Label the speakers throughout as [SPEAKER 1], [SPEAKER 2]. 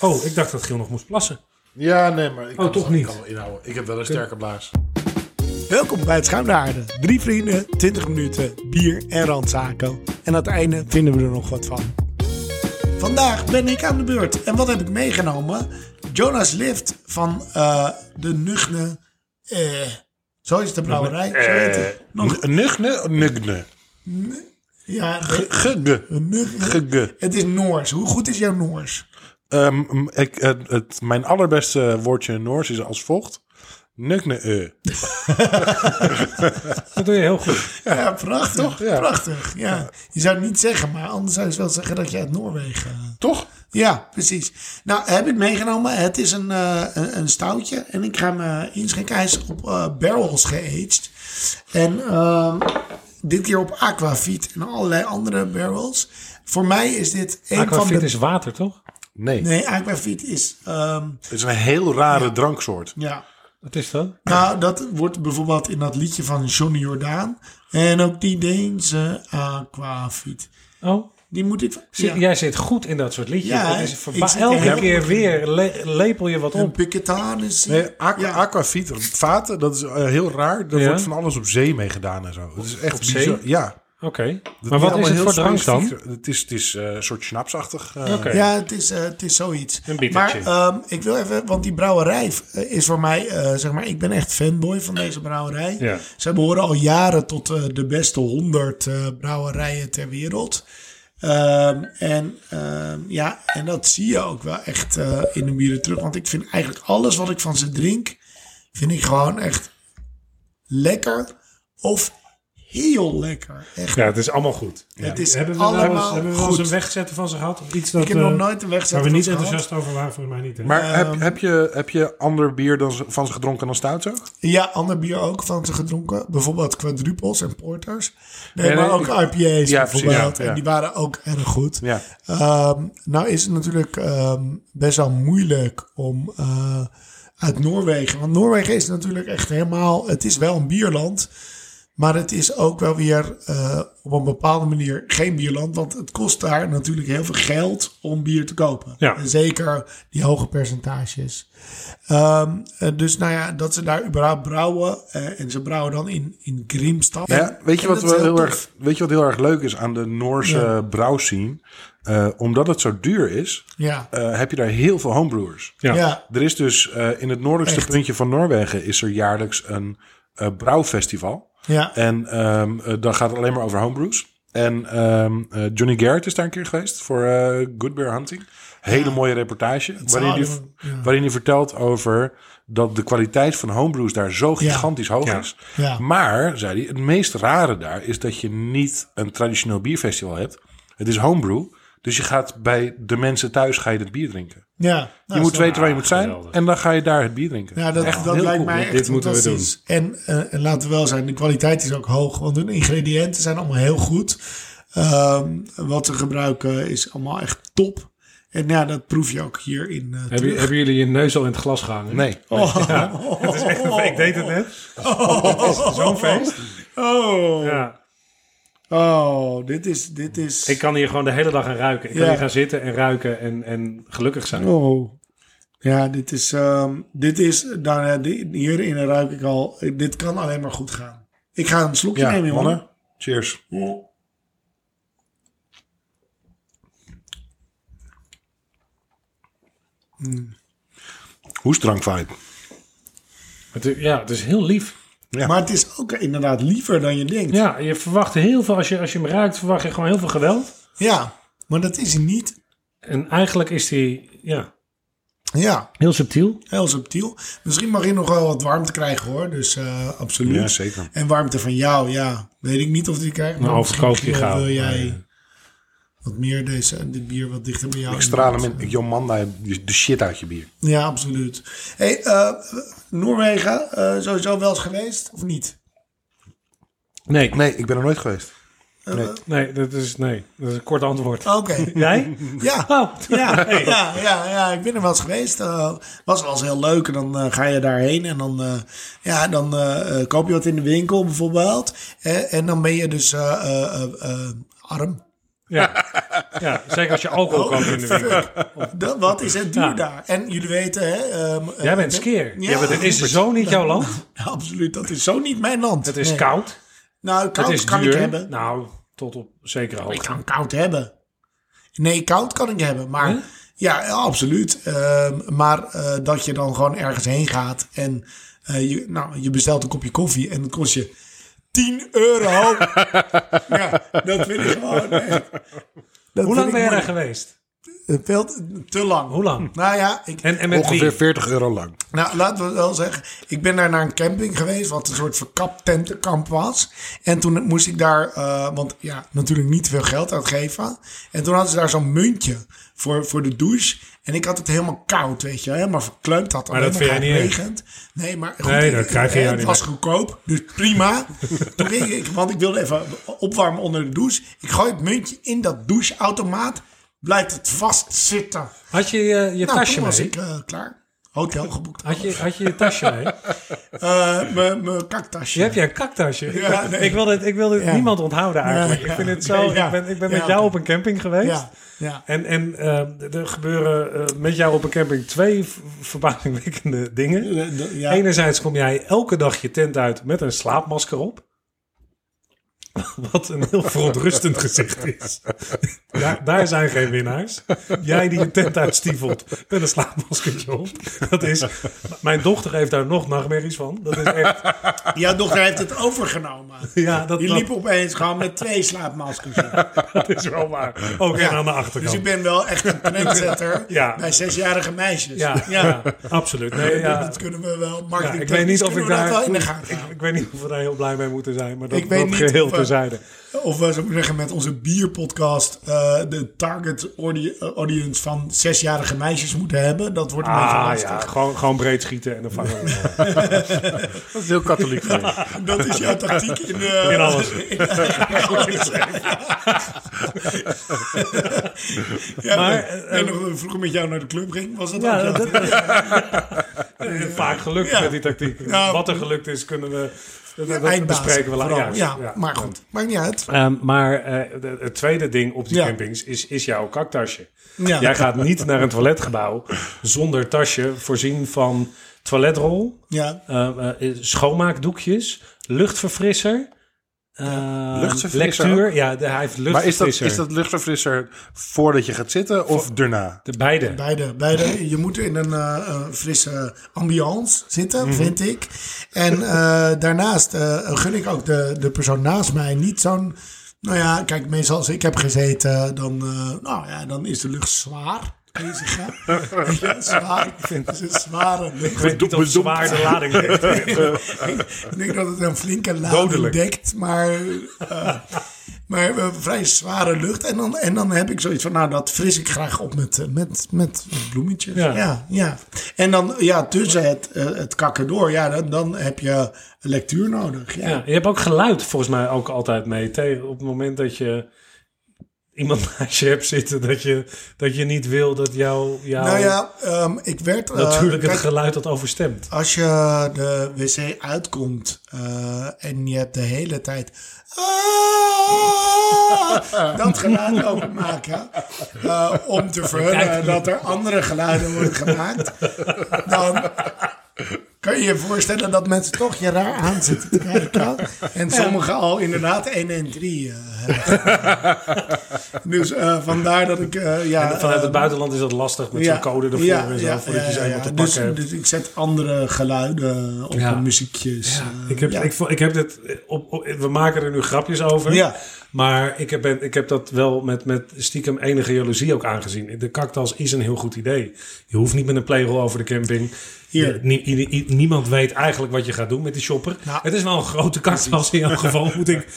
[SPEAKER 1] Oh, ik dacht dat Giel nog moest plassen.
[SPEAKER 2] Ja, nee, maar ik
[SPEAKER 1] Oh, toch
[SPEAKER 2] ik
[SPEAKER 1] niet.
[SPEAKER 2] kan wel inhouden. Ik heb wel een sterke blaas.
[SPEAKER 3] Welkom bij het Schuim naar Aarde. Drie vrienden, 20 minuten, bier en randzaken. En aan het einde vinden we er nog wat van. Vandaag ben ik aan de beurt. En wat heb ik meegenomen? Jonas Lift van eh, de Nugne. eh, zo is de brouwerij. Zo heet het. Nog,
[SPEAKER 2] Nugne? Nugne.
[SPEAKER 3] ja,
[SPEAKER 2] Gugge.
[SPEAKER 3] Nugne.
[SPEAKER 2] Gugge.
[SPEAKER 3] Het is Noors. Hoe goed is jouw Noors?
[SPEAKER 2] Ehm, m, ik, het, het- mijn allerbeste woordje in Noors is als volgt. Nugne eh.
[SPEAKER 1] Dat doe je heel goed.
[SPEAKER 3] Ja, prachtig.
[SPEAKER 2] Ja.
[SPEAKER 3] Prachtig. Ja. Je zou het niet zeggen, maar anders zou je wel zeggen dat je uit Noorwegen.
[SPEAKER 2] Toch?
[SPEAKER 3] Ja, precies. Nou, heb ik meegenomen. Het is een, eh, een, een stoutje. En ik ga hem eh, inschenken. Hij is op eh, barrels geaged. En ehm, dit keer op aquavit en allerlei andere barrels. Voor mij is dit een van
[SPEAKER 1] Aquavit
[SPEAKER 3] de...
[SPEAKER 1] is water, toch?
[SPEAKER 2] Nee.
[SPEAKER 3] Nee, aquavit is... ehm,
[SPEAKER 2] Het is een heel rare dranksoort.
[SPEAKER 3] ja,
[SPEAKER 1] Wat is dat?
[SPEAKER 3] nou, dat wordt bijvoorbeeld in dat liedje van Johnny Jordaan. En ook die Deense aquavit.
[SPEAKER 1] Oh,
[SPEAKER 3] Die moet ik...
[SPEAKER 1] zie-
[SPEAKER 3] Ja.
[SPEAKER 1] jij zit goed in dat soort liedjes.
[SPEAKER 3] Ja,
[SPEAKER 1] dat
[SPEAKER 3] ik
[SPEAKER 1] is verba-
[SPEAKER 3] zit
[SPEAKER 1] elke
[SPEAKER 3] heel
[SPEAKER 1] keer
[SPEAKER 3] goed.
[SPEAKER 1] weer le- lepel je wat
[SPEAKER 3] Een
[SPEAKER 1] op.
[SPEAKER 3] piquetanis.
[SPEAKER 2] Nee, aqu-
[SPEAKER 3] Ja.
[SPEAKER 2] aquavit, vaten, dat is eh, heel raar. Daar
[SPEAKER 1] Ja.
[SPEAKER 2] wordt van alles op zee mee gedaan en zo. Het is echt
[SPEAKER 1] Op zee?
[SPEAKER 2] bizar. Ja.
[SPEAKER 1] Oké. Maar wat is het voor drank dan?
[SPEAKER 2] Het is, het is eh, een soort schnapsachtig. eh,
[SPEAKER 1] Oké.
[SPEAKER 3] Ja, het is, eh, het is zoiets.
[SPEAKER 1] Een biertje.
[SPEAKER 3] maar ehm, ik wil even, want die brouwerij eh, is voor mij, eh, zeg maar, ik ben echt fanboy van deze brouwerij.
[SPEAKER 1] Ja.
[SPEAKER 3] Zij behoren al jaren tot eh, de beste 100 eh, brouwerijen ter wereld. Ehm, en, ehm, ja, en dat zie je ook wel echt eh, in de bieren terug. Want ik vind eigenlijk alles wat ik van ze drink, vind ik gewoon echt lekker of heel lekker. Echt.
[SPEAKER 1] Ja, het is allemaal goed.
[SPEAKER 3] Het is
[SPEAKER 1] hebben we wel eens-
[SPEAKER 3] allemaal
[SPEAKER 1] hebben we wel eens
[SPEAKER 3] goed.
[SPEAKER 1] een wegzetten van ze gehad? Of iets dat,
[SPEAKER 3] Ik heb nog
[SPEAKER 1] eh,
[SPEAKER 3] nooit een wegzet
[SPEAKER 1] Waar we niet
[SPEAKER 3] van gehad.
[SPEAKER 1] enthousiast over waren, volgens mij niet. hè?
[SPEAKER 2] Maar heb, heb, je, heb je ander bier dan, ze- van ze gedronken dan stout zo?
[SPEAKER 3] Ja, ander bier ook van ze gedronken. Bijvoorbeeld quadruples en porters. Nee,
[SPEAKER 2] Nee,
[SPEAKER 3] maar
[SPEAKER 2] nee,
[SPEAKER 3] ook IPA's
[SPEAKER 2] Ja,
[SPEAKER 3] bijvoorbeeld.
[SPEAKER 2] precies, ja, ja.
[SPEAKER 3] En die waren ook erg goed.
[SPEAKER 2] Ja.
[SPEAKER 3] Ehm, nou is het natuurlijk ehm, best wel moeilijk om eh, uit Noorwegen... Want Noorwegen is natuurlijk echt helemaal... Het is wel een bierland... Maar het is ook wel weer eh, op een bepaalde manier geen bierland. Want het kost daar natuurlijk heel veel geld om bier te kopen.
[SPEAKER 1] Ja.
[SPEAKER 3] En Zeker die hoge percentages. Ehm, eh, dus nou ja, dat ze daar überhaupt brouwen. eh, en ze brouwen dan in, in Grimstad.
[SPEAKER 2] Nou ja, weet, je
[SPEAKER 3] En
[SPEAKER 2] wat
[SPEAKER 3] dat is
[SPEAKER 2] wel heel
[SPEAKER 3] tof.
[SPEAKER 2] erg, weet je wat heel erg leuk is aan de Noorse
[SPEAKER 3] Ja.
[SPEAKER 2] eh, brouwscene? Eh, omdat het zo duur is,
[SPEAKER 3] Ja.
[SPEAKER 2] eh, heb je daar heel veel homebrewers.
[SPEAKER 1] ja.
[SPEAKER 3] ja.
[SPEAKER 2] Er is dus eh, in het noordelijkste
[SPEAKER 3] Echt.
[SPEAKER 2] puntje van Noorwegen is er jaarlijks een eh, brouwfestival.
[SPEAKER 3] Ja.
[SPEAKER 2] En ehm eh, dan gaat het alleen maar over homebrews. En ehm, eh, Johnny Garrett is daar een keer geweest voor eh Good Beer Hunting. Hele mooie reportage. Waarin hij,
[SPEAKER 3] zouden we- ja.
[SPEAKER 2] waarin hij vertelt over dat de kwaliteit van homebrews daar zo gigantisch hoog
[SPEAKER 1] Ja.
[SPEAKER 2] is.
[SPEAKER 3] Ja.
[SPEAKER 2] Maar, zei hij, het meest rare daar is dat je niet een traditioneel bierfestival hebt. Het is homebrew. Dus je gaat bij de mensen thuis ga je het bier drinken.
[SPEAKER 3] ja. Nou,
[SPEAKER 2] Je moet
[SPEAKER 3] zo.
[SPEAKER 2] weten waar je moet zijn.
[SPEAKER 1] geweldig.
[SPEAKER 2] En dan ga je daar het bier drinken.
[SPEAKER 3] Ja, dat, dat
[SPEAKER 2] heel
[SPEAKER 3] lijkt
[SPEAKER 2] cool.
[SPEAKER 3] mij
[SPEAKER 2] Dit-
[SPEAKER 3] echt
[SPEAKER 1] dit moeten we
[SPEAKER 3] fantastisch. En, eh, en laten we wel zijn, de kwaliteit is ook hoog. Want hun ingrediënten zijn allemaal heel goed. Ehm, wat ze gebruiken is allemaal echt top. En ja, dat proef je ook hier in eh, terug.
[SPEAKER 1] Hebben, hebben jullie je neus al in het glas gehangen?
[SPEAKER 2] Nee.
[SPEAKER 3] Oh,
[SPEAKER 1] Het is echt een feest. Ik deed het net. Het is Zo'n feest.
[SPEAKER 3] oh,
[SPEAKER 1] Ja.
[SPEAKER 3] oh, dit is, dit is...
[SPEAKER 1] Ik kan hier gewoon de hele dag aan ruiken. Ik
[SPEAKER 3] Ja.
[SPEAKER 1] kan hier gaan zitten en ruiken en, en gelukkig zijn.
[SPEAKER 3] Oh. Ja, dit is, ehm, dit is daar, eh, di- hierin ruik ik al, eh, dit kan alleen maar goed gaan. Ik ga een slokje
[SPEAKER 2] Ja,
[SPEAKER 3] nemen, jongen.
[SPEAKER 2] mannen. Cheers. Hoestdrank vibe.
[SPEAKER 1] Het, is- ja, het is heel lief.
[SPEAKER 2] Ja.
[SPEAKER 3] Maar het is ook inderdaad liever dan je denkt.
[SPEAKER 1] Ja, je verwacht heel veel. Als je, als je hem ruikt, verwacht je gewoon heel veel geweld.
[SPEAKER 3] Ja, maar dat is hij niet.
[SPEAKER 1] En eigenlijk is die ja,
[SPEAKER 3] Ja,
[SPEAKER 1] heel subtiel.
[SPEAKER 3] heel subtiel. Misschien mag je nog wel wat warmte krijgen hoor. Dus eh, absoluut.
[SPEAKER 2] Ja, zeker.
[SPEAKER 3] En warmte van jou, ja. Weet ik niet of die krijgt.
[SPEAKER 1] Nou, overkoop je
[SPEAKER 3] misschien, eh,
[SPEAKER 1] gauw.
[SPEAKER 3] Wil
[SPEAKER 1] Maar, eh,
[SPEAKER 3] jij wat meer deze, dit bier wat dichter bij jou?
[SPEAKER 2] Ik straal
[SPEAKER 3] in de
[SPEAKER 2] hem in. Jomanda, de shit uit je bier.
[SPEAKER 3] buurt? Ja, absoluut. Hey, eh, Noorwegen, eh, sowieso wel eens geweest of niet?
[SPEAKER 1] Nee,
[SPEAKER 2] Nee, ik ben er nooit geweest. Nee.
[SPEAKER 1] nee, dat is, nee, dat is een kort antwoord.
[SPEAKER 3] Oké.
[SPEAKER 1] Jij?
[SPEAKER 3] Ja.
[SPEAKER 1] Oh,
[SPEAKER 3] Ja,
[SPEAKER 1] Hey.
[SPEAKER 3] ja, ja, ja, ik ben er wel eens geweest. Eh, was wel eens heel leuk. En dan eh, ga je daarheen en dan, eh, ja, dan eh, eh, koop je wat in de winkel bijvoorbeeld. Eh, en dan ben je dus eh, eh, eh, eh, arm.
[SPEAKER 1] Ja. ja, zeker als je
[SPEAKER 3] Oh.
[SPEAKER 1] alcohol koopt in de winkel.
[SPEAKER 3] Dat, wat is het duur
[SPEAKER 1] Ja.
[SPEAKER 3] daar? En jullie weten, hè... ehm,
[SPEAKER 1] Jij
[SPEAKER 3] eh,
[SPEAKER 1] bent
[SPEAKER 3] de-
[SPEAKER 1] skeer.
[SPEAKER 3] Ja,
[SPEAKER 1] Jij bent, het is zo niet jouw land.
[SPEAKER 3] absoluut. Dat is zo niet mijn land.
[SPEAKER 1] Het is
[SPEAKER 3] Nee.
[SPEAKER 1] koud.
[SPEAKER 3] Nou, koud
[SPEAKER 1] het is
[SPEAKER 3] kan
[SPEAKER 1] duur.
[SPEAKER 3] ik hebben.
[SPEAKER 1] Nou, tot op zekere
[SPEAKER 3] Ik
[SPEAKER 1] hoogte.
[SPEAKER 3] kan koud hebben. Nee, koud kan ik hebben. Maar
[SPEAKER 1] Huh?
[SPEAKER 3] ja, absoluut. Ehm, maar eh, dat je dan gewoon ergens heen gaat en eh, je, nou, je bestelt een kopje koffie en dat kost je 10 euro. ja, dat vind ik gewoon. echt- dat
[SPEAKER 1] Hoe
[SPEAKER 3] vind
[SPEAKER 1] lang ben je daar
[SPEAKER 3] ik moeilijk.
[SPEAKER 1] geweest?
[SPEAKER 3] Veel te lang.
[SPEAKER 1] Hoe lang?
[SPEAKER 3] Nou ja, ik,
[SPEAKER 1] En, en met
[SPEAKER 2] Ongeveer
[SPEAKER 1] wie?
[SPEAKER 2] 40 euro lang.
[SPEAKER 3] nou, laten we het wel zeggen. Ik ben daar naar een camping geweest, wat een soort verkapt tentenkamp was. En toen moest ik daar, eh, want ja, natuurlijk niet veel geld uitgeven. En toen hadden ze daar zo'n muntje voor, voor de douche. En ik had het helemaal koud, weet je, helemaal verkleumd had.
[SPEAKER 1] Maar dat
[SPEAKER 3] alleen
[SPEAKER 1] vind jij
[SPEAKER 3] koud
[SPEAKER 1] niet erg.
[SPEAKER 3] regent. Nee, maar goed,
[SPEAKER 1] Nee, dat
[SPEAKER 3] ik-
[SPEAKER 1] krijg je
[SPEAKER 3] eh,
[SPEAKER 1] jou
[SPEAKER 3] Het
[SPEAKER 1] niet
[SPEAKER 3] was
[SPEAKER 1] mee.
[SPEAKER 3] goedkoop, dus prima. toen ging ik, want ik wilde even opwarmen onder de douche. Ik gooi het muntje in dat doucheautomaat. Blijft het vastzitten.
[SPEAKER 1] Had je eh, je
[SPEAKER 3] Nou,
[SPEAKER 1] tasje
[SPEAKER 3] toen was
[SPEAKER 1] mee?
[SPEAKER 3] ik eh, klaar. Hotel geboekt.
[SPEAKER 1] Had je, had je je tasje mee?
[SPEAKER 3] Eh, mijn- mijn kaktasje.
[SPEAKER 1] Je hebt je een kaktasje.
[SPEAKER 3] Ja, nee.
[SPEAKER 1] Ik wil dit, ik wil dit
[SPEAKER 3] Ja.
[SPEAKER 1] niemand onthouden eigenlijk.
[SPEAKER 3] Nee.
[SPEAKER 1] Ik vind het zo.
[SPEAKER 3] Nee, ja.
[SPEAKER 1] Ik ben, ik ben
[SPEAKER 3] Ja,
[SPEAKER 1] met jou
[SPEAKER 3] oké.
[SPEAKER 1] op een camping geweest.
[SPEAKER 3] Ja, ja.
[SPEAKER 1] En, en eh, er gebeuren eh, met jou op een camping twee v- verbazingwekkende dingen.
[SPEAKER 3] Ja.
[SPEAKER 1] Enerzijds kom jij elke dag je tent uit met een slaapmasker op. Wat een heel verontrustend gezicht is. Daar, daar zijn geen winnaars. Jij die je tent uitstiefelt met een slaapmaskertje op. Dat is, mijn dochter heeft daar nog nachtmerries van. Dat is echt,
[SPEAKER 3] Jouw dochter heeft het overgenomen.
[SPEAKER 1] ja, dat,
[SPEAKER 3] Die liep
[SPEAKER 1] dat,
[SPEAKER 3] opeens gewoon met twee slaapmaskers op.
[SPEAKER 1] dat is wel waar. Ook en
[SPEAKER 3] Ja.
[SPEAKER 1] aan de
[SPEAKER 3] Dus
[SPEAKER 1] achterkant.
[SPEAKER 3] ik ben wel echt een trendsetter
[SPEAKER 1] Ja.
[SPEAKER 3] bij zesjarige meisjes.
[SPEAKER 1] Ja, ja. absoluut. Nee, ja.
[SPEAKER 3] Dat kunnen we wel.
[SPEAKER 1] Ja,
[SPEAKER 3] Marketing
[SPEAKER 1] ik weet niet of ik daar.
[SPEAKER 3] wel in de gaten
[SPEAKER 1] ik,
[SPEAKER 3] houden.
[SPEAKER 1] ik weet niet of we daar heel blij mee moeten zijn, maar dat,
[SPEAKER 3] Ik weet
[SPEAKER 1] dat
[SPEAKER 3] niet
[SPEAKER 1] geheel
[SPEAKER 3] of we-
[SPEAKER 1] terzijde.
[SPEAKER 3] Of we zou ik zeggen met onze bierpodcast eh, de target audi- eh, audience van zesjarige meisjes moeten hebben. Dat wordt een beetje
[SPEAKER 1] Ah
[SPEAKER 3] lastig.
[SPEAKER 1] ja, gewoon, gewoon breed schieten en dan vangen we hem.
[SPEAKER 2] Dat is heel katholiek van je.
[SPEAKER 3] Dat is jouw tactiek in, de,
[SPEAKER 1] In alles.
[SPEAKER 3] in alles.
[SPEAKER 1] Maar,
[SPEAKER 3] ja, maar,
[SPEAKER 1] eh,
[SPEAKER 3] nog toen ik vroeger met jou naar de club ging, was dat ook
[SPEAKER 1] Ja,
[SPEAKER 3] jouw
[SPEAKER 1] dat,
[SPEAKER 3] tactiek?
[SPEAKER 1] Eh, Vaak gelukt
[SPEAKER 3] Ja.
[SPEAKER 1] met die tactiek.
[SPEAKER 3] Ja.
[SPEAKER 1] Wat er gelukt is, kunnen we. Dat, dat
[SPEAKER 3] Eindbaas,
[SPEAKER 1] bespreken we later.
[SPEAKER 3] vooral.
[SPEAKER 1] Juist,
[SPEAKER 3] Ja, maar goed, maakt niet uit.
[SPEAKER 1] Ehm, maar eh, de- het tweede ding op die
[SPEAKER 3] Ja.
[SPEAKER 1] campings is, is jouw kaktasje.
[SPEAKER 3] Ja.
[SPEAKER 1] Jij gaat niet naar een toiletgebouw zonder tasje voorzien van toiletrol,
[SPEAKER 3] Ja.
[SPEAKER 1] eh, eh, schoonmaakdoekjes, luchtverfrisser. eh,
[SPEAKER 2] luchtverfrisser
[SPEAKER 1] Lectuur. Ja, de- hij heeft
[SPEAKER 2] Maar is dat,
[SPEAKER 1] luchtverfrisser.
[SPEAKER 2] is dat luchtverfrisser voordat je gaat zitten of daarna?
[SPEAKER 1] De beide.
[SPEAKER 3] Beide, beide. Je moet in een eh, eh, frisse ambiance zitten,
[SPEAKER 1] Mhm.
[SPEAKER 3] vind ik. En eh, daarnaast eh, gun ik ook de, de persoon naast mij niet zo'n... Nou ja, kijk, meestal als ik heb gezeten, dan, eh, nou ja, dan is de lucht zwaar. Bezig, hè? ja, zwaar. Het is een zware lucht.
[SPEAKER 1] Ik weet niet of zwaar de lading heeft.
[SPEAKER 3] ik denk dat het een flinke lading
[SPEAKER 1] Dodelijk.
[SPEAKER 3] dekt, maar, eh, maar eh, vrij zware lucht. En dan, en dan heb ik zoiets van, nou, dat fris ik graag op met, eh, met, met bloemetjes. Ja.
[SPEAKER 1] Ja.
[SPEAKER 3] Ja, En dan ja, tussen het, eh, het kakken door, ja, dan, dan heb je lectuur nodig. Ja.
[SPEAKER 1] Ja, je hebt ook geluid volgens mij ook altijd mee. Tegen, op het moment dat je iemand naast je hebt zitten, dat je, dat je niet wil dat jouw jou,
[SPEAKER 3] Nou ja, ehm, ik werd... eh,
[SPEAKER 1] natuurlijk het
[SPEAKER 3] kijk,
[SPEAKER 1] geluid dat overstemt.
[SPEAKER 3] als je de wc uitkomt eh, en je hebt de hele tijd. "Ah", dat geluid openmaken. eh om te verhullen
[SPEAKER 1] Kijk.
[SPEAKER 3] dat er andere geluiden worden gemaakt. Dan kan je je voorstellen dat mensen toch je raar aan zitten te kijken. En sommigen al inderdaad 1 en 3 eh, hebben. Dus eh, vandaar dat ik. eh, ja,
[SPEAKER 1] Vanuit
[SPEAKER 2] Ehm,
[SPEAKER 3] eh,
[SPEAKER 1] het buitenland is dat lastig met zo'n code ervoor en zo, voordat je ze eenmaal te
[SPEAKER 3] dus,
[SPEAKER 1] pakken hebt.
[SPEAKER 3] dus ik zet andere geluiden op
[SPEAKER 1] Ja.
[SPEAKER 3] en muziekjes. eh,
[SPEAKER 1] Ik heb,
[SPEAKER 3] ja.
[SPEAKER 1] ik, vo- ik heb dit op, op- we maken er nu grapjes over.
[SPEAKER 3] Ja.
[SPEAKER 1] Maar ik heb, ben- ik heb dat wel met, met stiekem enige jaloezie ook aangezien. De kaktas is een heel goed idee. Je hoeft niet met een playroll over de camping.
[SPEAKER 3] Hier.
[SPEAKER 1] Je- nie- nie- nie- niemand weet eigenlijk wat je gaat doen met die shopper.
[SPEAKER 3] Nou,
[SPEAKER 1] het is wel een grote kaktas in elk geval. Moet ik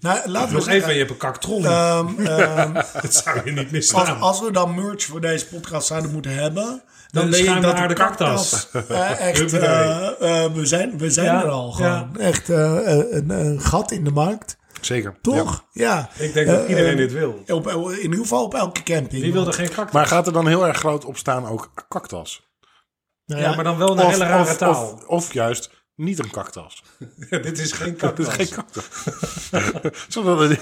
[SPEAKER 3] nou, laten we
[SPEAKER 1] nog even,
[SPEAKER 3] zeggen,
[SPEAKER 1] je hebt een kaktrol.
[SPEAKER 3] ehm, ehm,
[SPEAKER 1] dat zou je niet
[SPEAKER 3] als,
[SPEAKER 1] misstaan.
[SPEAKER 3] als we dan merch voor deze podcast zouden moeten hebben... Dan
[SPEAKER 1] Een
[SPEAKER 3] denk ik dat de
[SPEAKER 1] schuimbehaarde
[SPEAKER 3] kaktas eh, echt...
[SPEAKER 1] Huppatee.
[SPEAKER 3] eh, eh, we zijn, we zijn
[SPEAKER 1] Ja,
[SPEAKER 3] er al
[SPEAKER 1] ja.
[SPEAKER 3] gewoon. Echt eh, een, een, een gat in de markt.
[SPEAKER 2] Zeker. Ja.
[SPEAKER 3] Toch? Ja.
[SPEAKER 1] ik denk dat
[SPEAKER 3] Eh,
[SPEAKER 1] iedereen
[SPEAKER 3] eh,
[SPEAKER 1] dit wil.
[SPEAKER 3] Op, in ieder geval op elke camping.
[SPEAKER 1] Wie wil er geen kaktas?
[SPEAKER 2] Maar gaat er dan heel erg groot op staan ook kaktas?
[SPEAKER 3] Nou
[SPEAKER 1] ja, maar dan wel een hele rare
[SPEAKER 2] of,
[SPEAKER 1] taal.
[SPEAKER 2] Of, of juist niet een kaktas.
[SPEAKER 1] Dit is geen
[SPEAKER 2] Dat is
[SPEAKER 1] kaktus.
[SPEAKER 2] geen kaktus. Zodat het-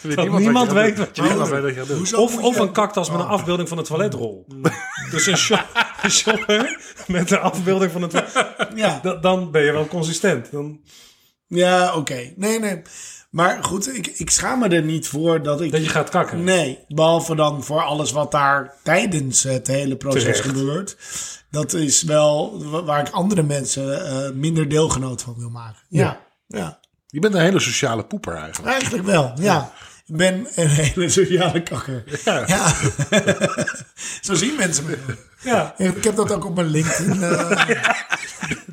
[SPEAKER 2] Weet
[SPEAKER 1] Dat niemand
[SPEAKER 2] gaat
[SPEAKER 1] weet
[SPEAKER 2] doen.
[SPEAKER 1] wat je
[SPEAKER 2] Niemand
[SPEAKER 1] gaat
[SPEAKER 2] weet wat je gaat doen.
[SPEAKER 3] Hoezo
[SPEAKER 1] Of,
[SPEAKER 3] moet
[SPEAKER 1] of
[SPEAKER 3] je-
[SPEAKER 1] een kaktas met een afbeelding van een toiletrol. Dus een sho- een shopper met een afbeelding van een toilet.
[SPEAKER 3] Ja,
[SPEAKER 1] Da- Dan ben je wel consistent. Dan,
[SPEAKER 3] ja oké. Nee, nee. Maar goed, ik, ik schaam me er niet voor dat ik...
[SPEAKER 1] dat je gaat kakken.
[SPEAKER 3] Nee, behalve dan voor alles wat daar tijdens het hele proces
[SPEAKER 1] Terecht.
[SPEAKER 3] gebeurt. Dat is wel wa- waar ik andere mensen eh, minder deelgenoot van wil maken. Ja, ja.
[SPEAKER 2] Je bent een hele sociale poeper eigenlijk.
[SPEAKER 3] eigenlijk wel. Ja. Ik ben een hele sociale kakker. Ja. Zo zien mensen me.
[SPEAKER 1] Ja,
[SPEAKER 3] Ik heb dat ook op mijn LinkedIn. eh,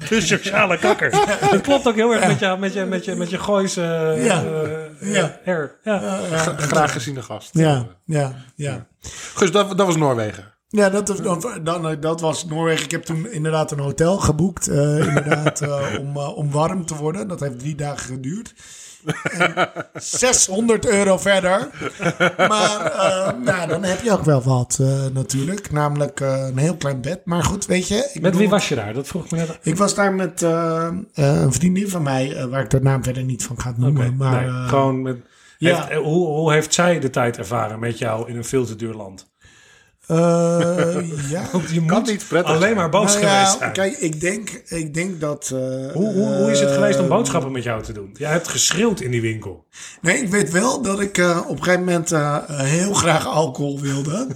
[SPEAKER 1] de sociale kakker. Het klopt ook heel erg met je, met je, met je, met je gooise eh,
[SPEAKER 3] Ja.
[SPEAKER 1] eh,
[SPEAKER 3] Ja.
[SPEAKER 1] air. Ja.
[SPEAKER 2] Gra- Graag geziene gast.
[SPEAKER 3] ja, ja, ja.
[SPEAKER 2] Dus dat, dat was Noorwegen.
[SPEAKER 3] Ja, dat, dan, dan, eh, dat was Noorwegen. Ik heb toen inderdaad een hotel geboekt. eh, inderdaad, eh, om, eh, om warm te worden. Dat heeft drie dagen geduurd. En 600 euro verder. Maar eh, nou, dan heb je ook wel wat eh, natuurlijk. Namelijk eh, een heel klein bed. Maar goed, weet je. Ik
[SPEAKER 1] Met
[SPEAKER 3] bedoel-
[SPEAKER 1] wie was je daar? Dat vroeg ik me net af.
[SPEAKER 3] Ik was daar met eh, eh, een vriendin van mij. eh, waar ik de naam verder niet van ga noemen. maar,
[SPEAKER 1] Nee,
[SPEAKER 3] eh,
[SPEAKER 1] gewoon met,
[SPEAKER 3] ja.
[SPEAKER 1] heeft- eh, hoe, hoe heeft zij de tijd ervaren met jou in een veel te duur land?
[SPEAKER 3] eh, ja.
[SPEAKER 1] Want Je moet
[SPEAKER 2] niet prettig
[SPEAKER 1] alleen
[SPEAKER 2] zijn.
[SPEAKER 1] maar boos
[SPEAKER 3] Nou ja,
[SPEAKER 1] geweest zijn.
[SPEAKER 3] Kijk, ik denk, ik denk dat... eh,
[SPEAKER 1] Hoe, hoe, hoe is het geweest om
[SPEAKER 3] eh,
[SPEAKER 1] boodschappen met jou te doen? Jij hebt geschreeuwd in die winkel.
[SPEAKER 3] Nee, ik weet wel dat ik eh, op een gegeven moment eh, eh, heel graag alcohol wilde.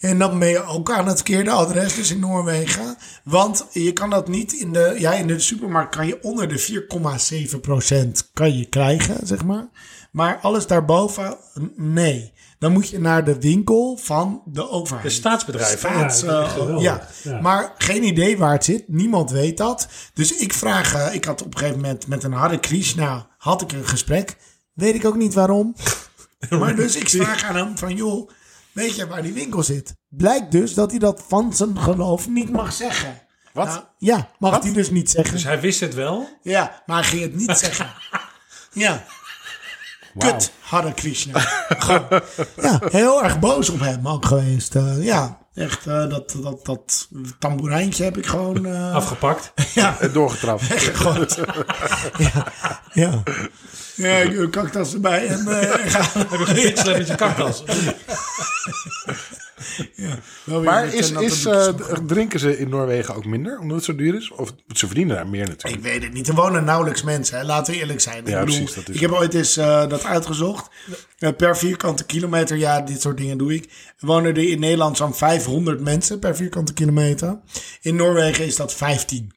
[SPEAKER 3] en dan ben je ook aan het verkeerde adres, dus in Noorwegen. Want je kan dat niet in de... Ja, in de supermarkt kan je onder de 4,7% kan je krijgen, zeg maar. Maar alles daarboven, n- nee. Dan moet je naar de winkel van de overheid.
[SPEAKER 1] De staatsbedrijven.
[SPEAKER 3] Staats,
[SPEAKER 1] Ja, dat is
[SPEAKER 3] eh,
[SPEAKER 1] geweldig.
[SPEAKER 3] ja.
[SPEAKER 1] Ja.
[SPEAKER 3] maar geen idee waar het zit. Niemand weet dat. Dus ik vraag, eh, ik had op een gegeven moment met een Hare Krishna had ik een gesprek. Weet ik ook niet waarom. maar dus ik vraag aan hem van joh, weet je waar die winkel zit? Blijkt dus dat hij dat van zijn geloof niet mag zeggen.
[SPEAKER 2] Wat?
[SPEAKER 3] Nou, ja, mag hij dus niet zeggen.
[SPEAKER 1] Dus hij wist het wel.
[SPEAKER 3] Ja, maar hij ging het niet zeggen. Ja. Kut, Hare Krishna. Gewoon. ja, heel erg boos op hem ook geweest. Eh, ja, echt eh, dat, dat, dat tamboerijntje heb ik gewoon... eh,
[SPEAKER 1] Afgepakt.
[SPEAKER 3] ja,
[SPEAKER 2] En Eh, doorgetrapt.
[SPEAKER 3] weggegooid. ja, ja. Ja, ik doe een kaktas erbij en eh, ik ga...
[SPEAKER 1] Heb je gepitst met je kaktas?
[SPEAKER 3] Wel weer
[SPEAKER 2] Maar
[SPEAKER 3] met
[SPEAKER 2] is,
[SPEAKER 3] een natte
[SPEAKER 2] is,
[SPEAKER 3] doekjes
[SPEAKER 2] eh,
[SPEAKER 3] omgaan.
[SPEAKER 2] drinken ze in Noorwegen ook minder, omdat het zo duur is? Of ze verdienen daar meer natuurlijk?
[SPEAKER 3] Ik weet het niet. Er wonen nauwelijks mensen, hè. laten we eerlijk zijn.
[SPEAKER 2] Ja,
[SPEAKER 3] ik bedoel,
[SPEAKER 2] precies, dat is
[SPEAKER 3] ik heb ooit eens eh, dat uitgezocht. Eh, per vierkante kilometer, ja, dit soort dingen doe ik. Wonen er in Nederland zo'n 500 mensen per vierkante kilometer. In Noorwegen is dat 15.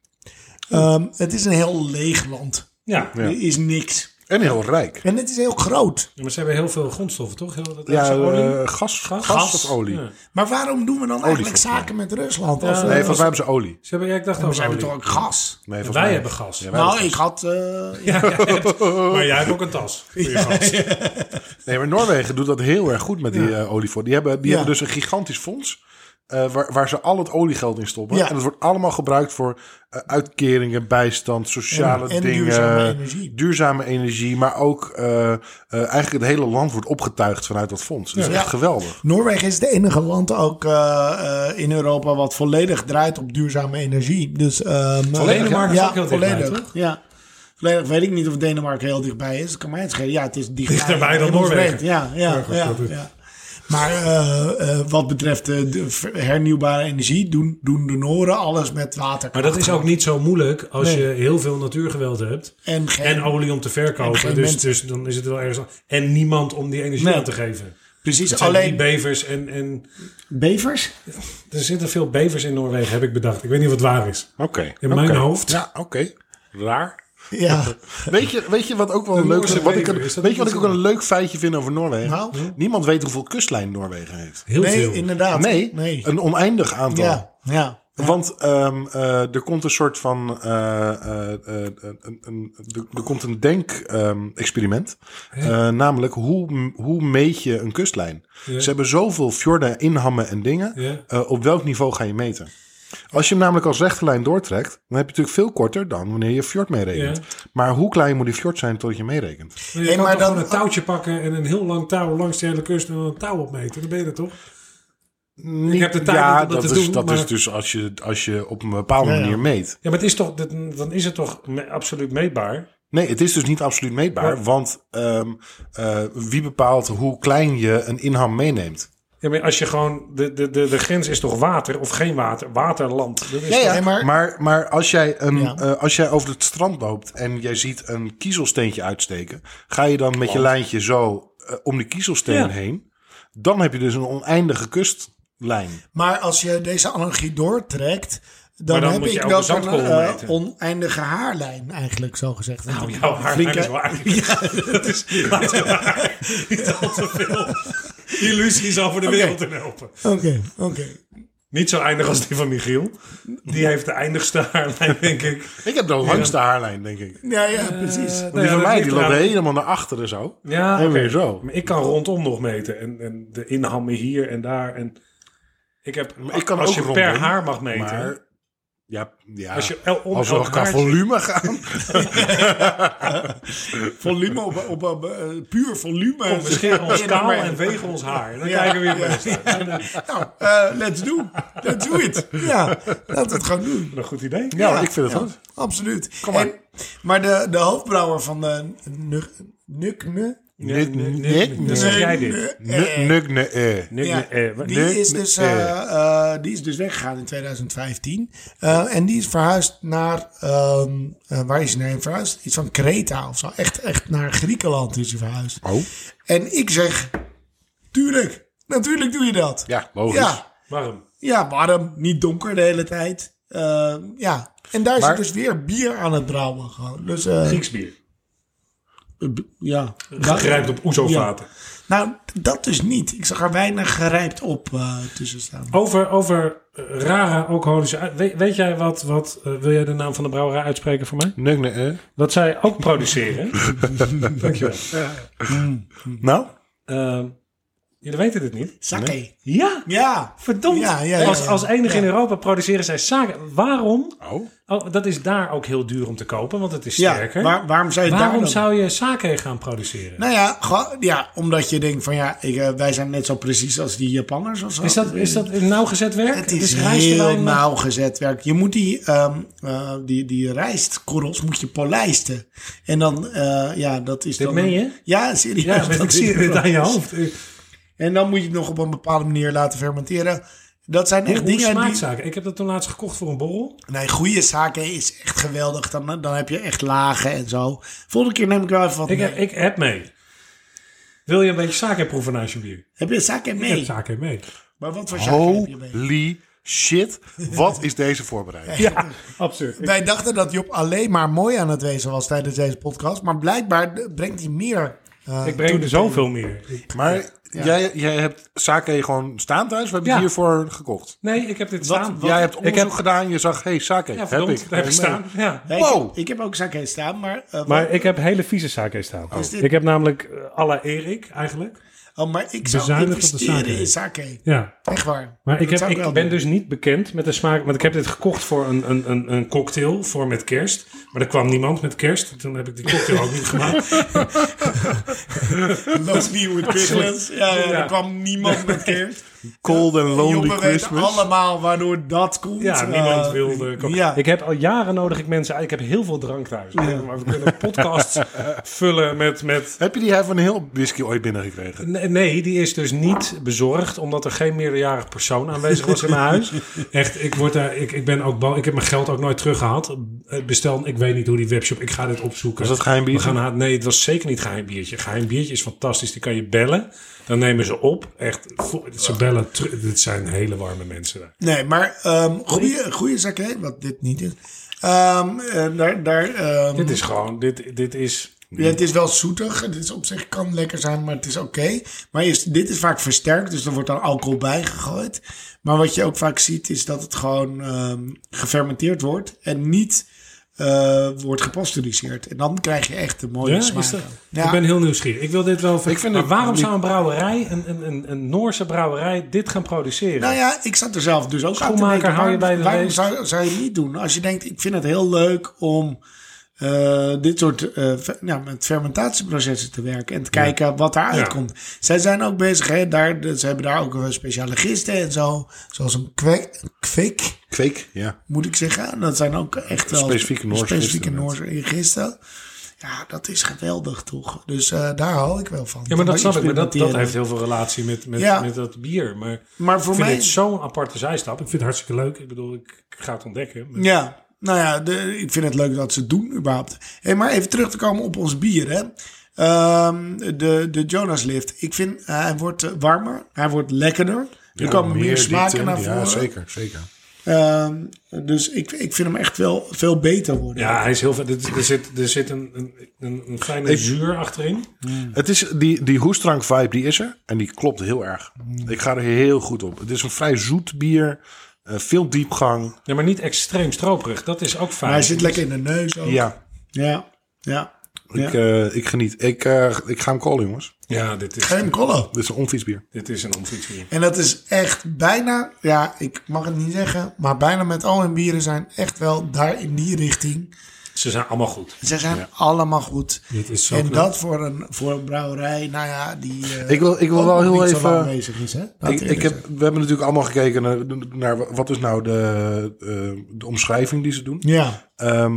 [SPEAKER 3] Ehm, het is een heel leeg land.
[SPEAKER 1] Ja.
[SPEAKER 2] Ja.
[SPEAKER 3] Er is niks.
[SPEAKER 2] En heel rijk.
[SPEAKER 3] En het is heel groot.
[SPEAKER 1] Maar ze hebben heel veel grondstoffen, toch? Heel, dat
[SPEAKER 2] Ja,
[SPEAKER 1] hebben ze olie.
[SPEAKER 2] eh, gas, gas,
[SPEAKER 1] Gas.
[SPEAKER 2] of olie?
[SPEAKER 1] Ja.
[SPEAKER 3] Maar waarom doen we dan eigenlijk
[SPEAKER 2] volgens mij.
[SPEAKER 3] zaken met Rusland? Als,
[SPEAKER 2] Nee,
[SPEAKER 3] eh,
[SPEAKER 2] volgens mij hebben ze olie.
[SPEAKER 1] Ze hebben, ja, ik dacht
[SPEAKER 3] we
[SPEAKER 1] over
[SPEAKER 3] zijn
[SPEAKER 1] olie.
[SPEAKER 3] toch ook gas?
[SPEAKER 2] Nee, volgens
[SPEAKER 1] Wij
[SPEAKER 2] mij-
[SPEAKER 1] hebben gas.
[SPEAKER 2] Ja, wij
[SPEAKER 3] Nou,
[SPEAKER 2] hebben
[SPEAKER 3] ik had... eh,
[SPEAKER 1] Ja, jij hebt- maar jij hebt ook een tas. voor je gast.
[SPEAKER 2] gas. Nee, maar Noorwegen doet dat heel erg goed met die eh, olie voor. Die, hebben, die
[SPEAKER 3] Ja.
[SPEAKER 2] hebben dus een gigantisch fonds. eh, waar, waar ze al het oliegeld in stoppen.
[SPEAKER 3] Ja.
[SPEAKER 2] En dat wordt allemaal gebruikt voor eh, uitkeringen, bijstand, sociale
[SPEAKER 3] En- en
[SPEAKER 2] dingen.
[SPEAKER 3] duurzame energie.
[SPEAKER 2] duurzame energie, Maar ook eh, eh, eigenlijk het hele land wordt opgetuigd vanuit dat fonds. Dat is
[SPEAKER 3] Ja.
[SPEAKER 2] echt geweldig.
[SPEAKER 3] Noorwegen is het enige land ook eh, eh, in Europa wat volledig draait op duurzame energie. Dus, ehm,
[SPEAKER 1] Volledig,
[SPEAKER 3] Denemarken
[SPEAKER 1] ja?
[SPEAKER 3] is
[SPEAKER 1] ook heel dichtbij, toch?
[SPEAKER 3] Ja. Volledig weet ik niet of Denemarken heel dichtbij is. Dat kan mij het schelen. Ja, het is dichtbij.
[SPEAKER 1] Dichterbij dan
[SPEAKER 3] Hemelsbreed.
[SPEAKER 1] Noorwegen.
[SPEAKER 3] Ja, ja, ja. ja. Maar eh, eh, wat betreft eh, de ver- hernieuwbare energie doen, doen de Noren alles met water.
[SPEAKER 1] Maar dat is ook niet zo moeilijk als
[SPEAKER 3] Nee.
[SPEAKER 1] je heel veel natuurgeweld hebt.
[SPEAKER 3] En geen-
[SPEAKER 1] en olie om te
[SPEAKER 3] en geen
[SPEAKER 1] verkopen. Dus,
[SPEAKER 3] mensen.
[SPEAKER 1] dus dan is het wel ergens. aan- En niemand om die energie
[SPEAKER 3] Nee.
[SPEAKER 1] aan te geven.
[SPEAKER 3] Precies,
[SPEAKER 1] Alleen
[SPEAKER 3] alleen
[SPEAKER 1] bevers en, en.
[SPEAKER 3] bevers?
[SPEAKER 1] Er zitten veel bevers in Noorwegen, heb ik bedacht. Ik weet niet of het waar is.
[SPEAKER 2] Oké.
[SPEAKER 1] In
[SPEAKER 2] Oké.
[SPEAKER 1] mijn hoofd.
[SPEAKER 2] Ja, oké. Raar.
[SPEAKER 3] Ja.
[SPEAKER 2] Weet je, weet je wat ook wel een leuk
[SPEAKER 1] Noorse
[SPEAKER 2] wat ik,
[SPEAKER 1] bever, is dat
[SPEAKER 2] Weet
[SPEAKER 1] niet
[SPEAKER 2] je wat ik ook
[SPEAKER 1] zo?
[SPEAKER 2] een leuk feitje vind over Noorwegen?
[SPEAKER 3] Nou?
[SPEAKER 2] Niemand weet hoeveel kustlijn Noorwegen heeft.
[SPEAKER 1] Heel
[SPEAKER 3] Nee,
[SPEAKER 1] veel.
[SPEAKER 3] inderdaad.
[SPEAKER 2] Nee,
[SPEAKER 3] nee.
[SPEAKER 2] een oneindig aantal.
[SPEAKER 3] Ja, ja.
[SPEAKER 2] Want ehm, eh, er komt een soort van. eh, eh, eh, een- een- er- er komt een denk-experiment. Eh, namelijk, hoe, m- hoe meet je een kustlijn?
[SPEAKER 1] Ja.
[SPEAKER 2] Ze hebben zoveel fjorden, inhammen en dingen.
[SPEAKER 1] Ja.
[SPEAKER 2] Eh, op welk niveau ga je meten? Als je hem namelijk als rechte lijn doortrekt, dan heb je natuurlijk veel korter dan wanneer je fjord meerekent. Maar hoe klein moet die fjord zijn totdat je meerekent?
[SPEAKER 1] Maar je
[SPEAKER 3] Hey,
[SPEAKER 1] kan
[SPEAKER 3] maar
[SPEAKER 1] toch
[SPEAKER 3] dan-
[SPEAKER 1] gewoon een touwtje pakken en een heel lang touw langs de hele kust en dan een touw opmeten. Dan ben je er toch?
[SPEAKER 2] Niet,
[SPEAKER 1] heb de tijd
[SPEAKER 2] ja,
[SPEAKER 1] niet om dat te
[SPEAKER 2] is,
[SPEAKER 1] doen,
[SPEAKER 2] Dat
[SPEAKER 1] maar-
[SPEAKER 2] is dus als je, als je op een bepaalde
[SPEAKER 3] Ja, ja.
[SPEAKER 2] manier meet.
[SPEAKER 1] Ja, maar het is toch, dit- dan is het toch me- absoluut meetbaar?
[SPEAKER 2] Nee, het is dus niet absoluut meetbaar.
[SPEAKER 1] Ja.
[SPEAKER 2] Want ehm, eh, wie bepaalt hoe klein je een inham meeneemt?
[SPEAKER 1] Ja, maar als je gewoon... De, de, de, de grens is toch water of geen water? Waterland. Dat is
[SPEAKER 2] Ja,
[SPEAKER 1] toch-
[SPEAKER 2] ja.
[SPEAKER 3] Nee,
[SPEAKER 2] Maar,
[SPEAKER 3] maar-
[SPEAKER 2] maar, als, jij een,
[SPEAKER 3] Ja.
[SPEAKER 2] eh, als jij over het strand loopt en jij ziet een kiezelsteentje uitsteken, ga je dan met je lijntje zo eh, om die kiezelsteen
[SPEAKER 1] Ja.
[SPEAKER 2] heen, dan heb je dus een oneindige kustlijn.
[SPEAKER 3] Maar als je deze analogie doortrekt, dan,
[SPEAKER 1] Maar dan
[SPEAKER 3] heb
[SPEAKER 1] moet je
[SPEAKER 3] ik
[SPEAKER 1] ook
[SPEAKER 3] wel
[SPEAKER 1] een
[SPEAKER 3] een
[SPEAKER 1] zandkorrel
[SPEAKER 3] eh,
[SPEAKER 1] eten.
[SPEAKER 3] oneindige haarlijn eigenlijk, zo gezegd.
[SPEAKER 1] Nou, jouw haar
[SPEAKER 2] Flink,
[SPEAKER 1] is
[SPEAKER 2] hè?
[SPEAKER 1] waar. dat is laten we haar niet al te veel illusies over de wereld in helpen.
[SPEAKER 3] Oké, oké.
[SPEAKER 1] Niet zo eindig als die van Michiel. Die heeft de eindigste haarlijn, denk ik.
[SPEAKER 2] Ik heb de langste haarlijn, denk ik.
[SPEAKER 3] Ja, ja, precies.
[SPEAKER 1] Eh,
[SPEAKER 2] Die
[SPEAKER 1] nou ja,
[SPEAKER 2] van
[SPEAKER 1] dat
[SPEAKER 2] mij
[SPEAKER 1] ligt
[SPEAKER 2] die
[SPEAKER 1] eraan.
[SPEAKER 2] loopt helemaal naar achteren zo.
[SPEAKER 1] Ja,
[SPEAKER 2] en
[SPEAKER 1] oké.
[SPEAKER 2] weer zo.
[SPEAKER 1] Maar ik kan rondom nog meten. En, en de inhammen hier en daar. En ik heb,
[SPEAKER 2] Maar ik kan
[SPEAKER 1] als
[SPEAKER 2] ook
[SPEAKER 1] je
[SPEAKER 2] rondom,
[SPEAKER 1] per haar mag meten.
[SPEAKER 2] Maar ja, ja.
[SPEAKER 1] als je el, om
[SPEAKER 2] als we
[SPEAKER 1] elk
[SPEAKER 2] elkaar
[SPEAKER 1] haartje-
[SPEAKER 2] volume gaan.
[SPEAKER 3] volume op, op, op, eh, puur volume.
[SPEAKER 1] Kom, we scheren ons
[SPEAKER 3] Ja,
[SPEAKER 1] kaal
[SPEAKER 3] maar-
[SPEAKER 1] en wegen ons haar. En dan
[SPEAKER 3] Ja,
[SPEAKER 1] kijken we weer
[SPEAKER 3] ja.
[SPEAKER 1] best.
[SPEAKER 3] Nou, eh, let's do. Let's do it. Ja, laten we het gewoon doen.
[SPEAKER 1] Een goed idee.
[SPEAKER 2] Ja, ik vind het
[SPEAKER 3] ja,
[SPEAKER 2] goed.
[SPEAKER 3] Absoluut.
[SPEAKER 2] maar.
[SPEAKER 3] En- maar de, de hoofdbrouwer van de Nuk- Nukne...
[SPEAKER 2] Nik-
[SPEAKER 1] nee,
[SPEAKER 2] nik-
[SPEAKER 1] nee,
[SPEAKER 2] nik-
[SPEAKER 1] nee. Dan zeg jij dit.
[SPEAKER 2] Nuk- nuk- ne- eh.
[SPEAKER 1] Nee,
[SPEAKER 3] Ja,
[SPEAKER 1] nee, eh, wa-
[SPEAKER 3] die,
[SPEAKER 1] nee.
[SPEAKER 3] is dus, eh, eh, die is dus weggegaan in 2015. Eh, en die is verhuisd naar. ehm, eh, waar is hij naar verhuisd? Iets van Kreta of zo. Echt, echt naar Griekenland is hij verhuisd.
[SPEAKER 2] Oh,
[SPEAKER 3] En ik zeg: tuurlijk, natuurlijk doe je dat.
[SPEAKER 2] ja, logisch.
[SPEAKER 3] ja,
[SPEAKER 1] Waarom?
[SPEAKER 3] ja, warm, niet donker de hele tijd. Ehm, ja. En daar is
[SPEAKER 2] Maar-
[SPEAKER 3] hij dus weer bier aan het brouwen. Gewoon. Dus, eh,
[SPEAKER 1] Grieks bier.
[SPEAKER 3] eh, b- ja.
[SPEAKER 1] Gegrijpt op oezovaten.
[SPEAKER 3] Nou, dat dus niet. Ik zag er weinig gerijpt op eh, tussen staan.
[SPEAKER 1] Over, over eh, rare alcoholische... uit- Weet, weet jij wat... wat eh, wil jij de naam van de brouwerij uitspreken voor mij?
[SPEAKER 2] Nuk- ne- eh.
[SPEAKER 1] Dat zij ook produceren. Dankjewel.
[SPEAKER 2] Nou,
[SPEAKER 1] Ehm jullie weten dit niet?
[SPEAKER 3] Sake.
[SPEAKER 1] Ja,
[SPEAKER 3] Ja.
[SPEAKER 1] verdomd.
[SPEAKER 3] Ja, ja, ja,
[SPEAKER 1] Als,
[SPEAKER 3] ja.
[SPEAKER 1] als enige in
[SPEAKER 3] Ja.
[SPEAKER 1] Europa produceren zij sake. Waarom?
[SPEAKER 2] oh.
[SPEAKER 1] Oh, dat is daar ook heel duur om te kopen, want het is
[SPEAKER 3] Ja,
[SPEAKER 1] sterker.
[SPEAKER 3] waar- waarom zou je het daar
[SPEAKER 1] Waarom
[SPEAKER 3] dan-
[SPEAKER 1] zou je sake gaan produceren?
[SPEAKER 3] Nou ja, gewoon- ja, omdat je denkt van ja, ik, eh, wij zijn net zo precies als die Japanners of zo.
[SPEAKER 1] Is dat, is dat een nauwgezet werk?
[SPEAKER 3] Nou, eh, Het is
[SPEAKER 1] Dus
[SPEAKER 3] heel
[SPEAKER 1] rijstwijn-
[SPEAKER 3] nauwgezet werk. Je moet die, ehm, eh, die, die rijstkorrels moet je polijsten. En dan, eh, ja, dat is
[SPEAKER 1] Dit
[SPEAKER 3] dan...
[SPEAKER 1] meen je?
[SPEAKER 3] Ja, serieus.
[SPEAKER 1] Ja, maar
[SPEAKER 3] dat
[SPEAKER 1] ik zie
[SPEAKER 3] is-
[SPEAKER 1] dit aan je hoofd. Hoe,
[SPEAKER 3] En dan moet je het nog op een bepaalde manier laten fermenteren. Dat zijn echt
[SPEAKER 1] hoe
[SPEAKER 3] dingen
[SPEAKER 1] smaakt
[SPEAKER 3] die...
[SPEAKER 1] sake? Ik heb dat toen laatst gekocht voor een borrel.
[SPEAKER 3] Nee, goede zaken is echt geweldig. Dan, dan heb je echt lagen en zo. Volgende keer neem ik wel even wat
[SPEAKER 1] Ik,
[SPEAKER 3] mee.
[SPEAKER 1] heb, ik heb mee. Wil je een beetje sake proeven naast je bier?
[SPEAKER 3] Heb je zaken
[SPEAKER 1] Ik heb
[SPEAKER 3] mee?
[SPEAKER 1] sake mee.
[SPEAKER 3] Maar wat voor zaken heb je mee?
[SPEAKER 2] Holy shit. Wat is deze voorbereiding?
[SPEAKER 1] Ja, absurd.
[SPEAKER 3] Wij dachten dat Job alleen maar mooi aan het wezen was tijdens deze podcast. Maar blijkbaar brengt hij meer. eh,
[SPEAKER 1] Ik breng er zoveel meer.
[SPEAKER 2] Maar Jij, jij hebt sake gewoon staan thuis. We hebben
[SPEAKER 1] Ja.
[SPEAKER 2] het hiervoor gekocht.
[SPEAKER 1] Nee, ik heb dit
[SPEAKER 2] Wat,
[SPEAKER 1] staan.
[SPEAKER 2] jij hebt
[SPEAKER 1] ik
[SPEAKER 2] onderzoek
[SPEAKER 1] heb,
[SPEAKER 2] gedaan. Je zag, hey, sake.
[SPEAKER 1] ja,
[SPEAKER 2] heb
[SPEAKER 1] verdomd,
[SPEAKER 2] ik.
[SPEAKER 1] daar heb ik
[SPEAKER 2] Nee, nee.
[SPEAKER 1] staan. Ja.
[SPEAKER 3] Nee, ik-
[SPEAKER 2] Wow.
[SPEAKER 3] Ik, heb ook zaken staan, maar. eh, wat-
[SPEAKER 1] Maar ik heb hele vieze sake staan.
[SPEAKER 3] Oh. Is dit-
[SPEAKER 1] Ik heb namelijk eh, à la Erik eigenlijk.
[SPEAKER 3] oh, maar ik zou
[SPEAKER 1] Bezuinig op de
[SPEAKER 3] investeren
[SPEAKER 1] sake.
[SPEAKER 3] in sake.
[SPEAKER 1] Ja.
[SPEAKER 3] Echt waar.
[SPEAKER 1] Maar ik,
[SPEAKER 3] Dat
[SPEAKER 1] heb,
[SPEAKER 3] zou wel
[SPEAKER 1] ik ben
[SPEAKER 3] doen.
[SPEAKER 1] dus niet bekend met de smaak. Want ik heb dit gekocht voor een, een, een, een cocktail voor met kerst. Maar er kwam niemand met kerst. Toen heb ik die cocktail ook niet gemaakt.
[SPEAKER 3] Lonely with Christmas. Ja, ja,
[SPEAKER 1] dus- Ja.
[SPEAKER 3] er kwam niemand met kerst.
[SPEAKER 2] Cold and lonely
[SPEAKER 3] Joppen weten
[SPEAKER 2] Christmas.
[SPEAKER 3] allemaal waardoor dat komt.
[SPEAKER 1] Ja,
[SPEAKER 3] Eh,
[SPEAKER 1] niemand wilde cocktail.
[SPEAKER 3] ja.
[SPEAKER 1] Ik heb al jaren nodig ik mensen uit. Ik heb heel veel drank thuis. Maar we kunnen podcasts vullen met... met
[SPEAKER 2] Heb je die hij van heel whisky ooit binnengekregen?
[SPEAKER 1] Nee, nee, die is dus niet bezorgd, omdat er geen meerderjarig persoon aanwezig was in mijn huis. Echt, ik, word daar, ik, ik ben ook bang. Ik heb mijn geld ook nooit teruggehaald. Het Bestel, ik weet niet hoe die webshop, ik ga dit opzoeken.
[SPEAKER 2] Was dat geheim
[SPEAKER 1] We
[SPEAKER 2] biertje?
[SPEAKER 1] gaan haar- nee, het was zeker niet geheim biertje. Geheim biertje is fantastisch. Die kan je bellen. Dan nemen ze op. Echt, vo- ze bellen terug. Dit zijn hele warme mensen daar.
[SPEAKER 3] Nee, maar ehm goede, goede zaken, wat dit niet is. Ehm, eh, daar, daar, ehm,
[SPEAKER 1] Dit is gewoon, dit, dit is...
[SPEAKER 3] Ja, het is wel zoetig. Het is op zich kan lekker zijn, maar het is oké. Maar is, dit is vaak versterkt, dus er wordt dan alcohol bij gegooid. Maar wat je ook vaak ziet, is dat het gewoon ehm, gefermenteerd wordt en niet eh, wordt gepasteuriseerd. En dan krijg je echt de mooie
[SPEAKER 1] Ja,
[SPEAKER 3] smaak.
[SPEAKER 1] is dat,
[SPEAKER 3] ja,
[SPEAKER 1] Ik ben heel nieuwsgierig. Ik wil dit wel...
[SPEAKER 2] Ik vind
[SPEAKER 1] maar
[SPEAKER 2] het-
[SPEAKER 1] waarom zou een brouwerij, een, een, een, een Noorse brouwerij, dit gaan produceren?
[SPEAKER 3] Nou ja, ik zat er zelf dus ook aan te
[SPEAKER 1] Schoenmaker
[SPEAKER 3] denken.
[SPEAKER 1] hou je bij de
[SPEAKER 3] Waarom- Waarom
[SPEAKER 1] leest?
[SPEAKER 3] zou, zou je het niet doen? Als je denkt, ik vind het heel leuk om eh, dit soort eh, fe- nou, met fermentatieprocessen te werken en te kijken wat daaruit
[SPEAKER 1] Ja.
[SPEAKER 3] komt. Zij zijn ook bezig, hè, daar, de- ze hebben daar ook wel speciale gisten en zo, zoals een kwek, kwek
[SPEAKER 2] Kweek, ja.
[SPEAKER 3] moet ik zeggen. Dat zijn ook echt wel
[SPEAKER 2] Specifieke Noorse
[SPEAKER 3] specifieke
[SPEAKER 2] gisten,
[SPEAKER 3] Noorse gisten. Ja, dat is geweldig toch. Dus eh, daar hou ik wel van.
[SPEAKER 1] Ja, maar dat snap ik. Maar dat, dat
[SPEAKER 3] Experimenteren.
[SPEAKER 1] heeft heel veel relatie met, met,
[SPEAKER 3] Ja.
[SPEAKER 1] met dat bier. Maar,
[SPEAKER 3] Maar voor
[SPEAKER 1] ik vind
[SPEAKER 3] mij-
[SPEAKER 1] het zo'n aparte zijstap. Ik vind het hartstikke leuk. Ik bedoel, ik ga het ontdekken. Maar-
[SPEAKER 3] Ja, nou ja, de- ik vind het leuk dat ze het doen überhaupt. Hey, maar even terug te komen op ons bier, hè. Ehm, de, de Jonas Lift. Ik vind, eh, hij wordt eh, warmer. Hij wordt lekkerder. Er
[SPEAKER 2] Oh,
[SPEAKER 3] komen meer, smaken
[SPEAKER 2] diepte in.
[SPEAKER 3] naar voren.
[SPEAKER 2] Ja, zeker, zeker.
[SPEAKER 3] Ehm, dus ik, ik vind hem echt wel veel beter worden.
[SPEAKER 1] Ja, hij is heel vet. Er er zit, er zit een, een, een, een fijne zuur achterin.
[SPEAKER 2] Het is, die, die hoestdrank vibe die is er en die klopt heel erg.
[SPEAKER 1] Mm.
[SPEAKER 2] Ik ga er heel goed op. Het is een vrij zoet bier, eh, veel diepgang.
[SPEAKER 1] Ja, maar niet extreem stroperig. Dat is ook fijn.
[SPEAKER 3] Maar hij zit lekker in de neus ook.
[SPEAKER 2] dus- Ja,
[SPEAKER 3] Ja, ja. ja.
[SPEAKER 2] ik, eh, ik geniet. Ik, eh, ik ga hem callen, jongens.
[SPEAKER 1] Ja, dit is,
[SPEAKER 3] Geen kollen.
[SPEAKER 2] Dit is een onvies bier.
[SPEAKER 1] dit is een ontwikkeling.
[SPEAKER 3] En dat is echt bijna, ja, ik mag het niet zeggen, maar bijna met al hun bieren zijn echt wel daar in die richting.
[SPEAKER 1] Ze zijn allemaal goed.
[SPEAKER 3] Ze zijn allemaal goed.
[SPEAKER 1] Dit is zo
[SPEAKER 3] en
[SPEAKER 1] knap.
[SPEAKER 3] dat voor een, voor een brouwerij, nou ja, die. eh,
[SPEAKER 2] Ik wil, ik wil
[SPEAKER 3] ook
[SPEAKER 2] wel
[SPEAKER 3] nog
[SPEAKER 2] heel
[SPEAKER 3] niet zo lang
[SPEAKER 2] even...
[SPEAKER 3] bezig is, hè? Laten
[SPEAKER 2] Ik,
[SPEAKER 3] we eerlijk
[SPEAKER 2] ik heb,
[SPEAKER 3] zijn.
[SPEAKER 2] we hebben natuurlijk allemaal gekeken naar, naar wat is nou de, eh, de omschrijving die ze doen.
[SPEAKER 3] Ja,
[SPEAKER 2] Ehm,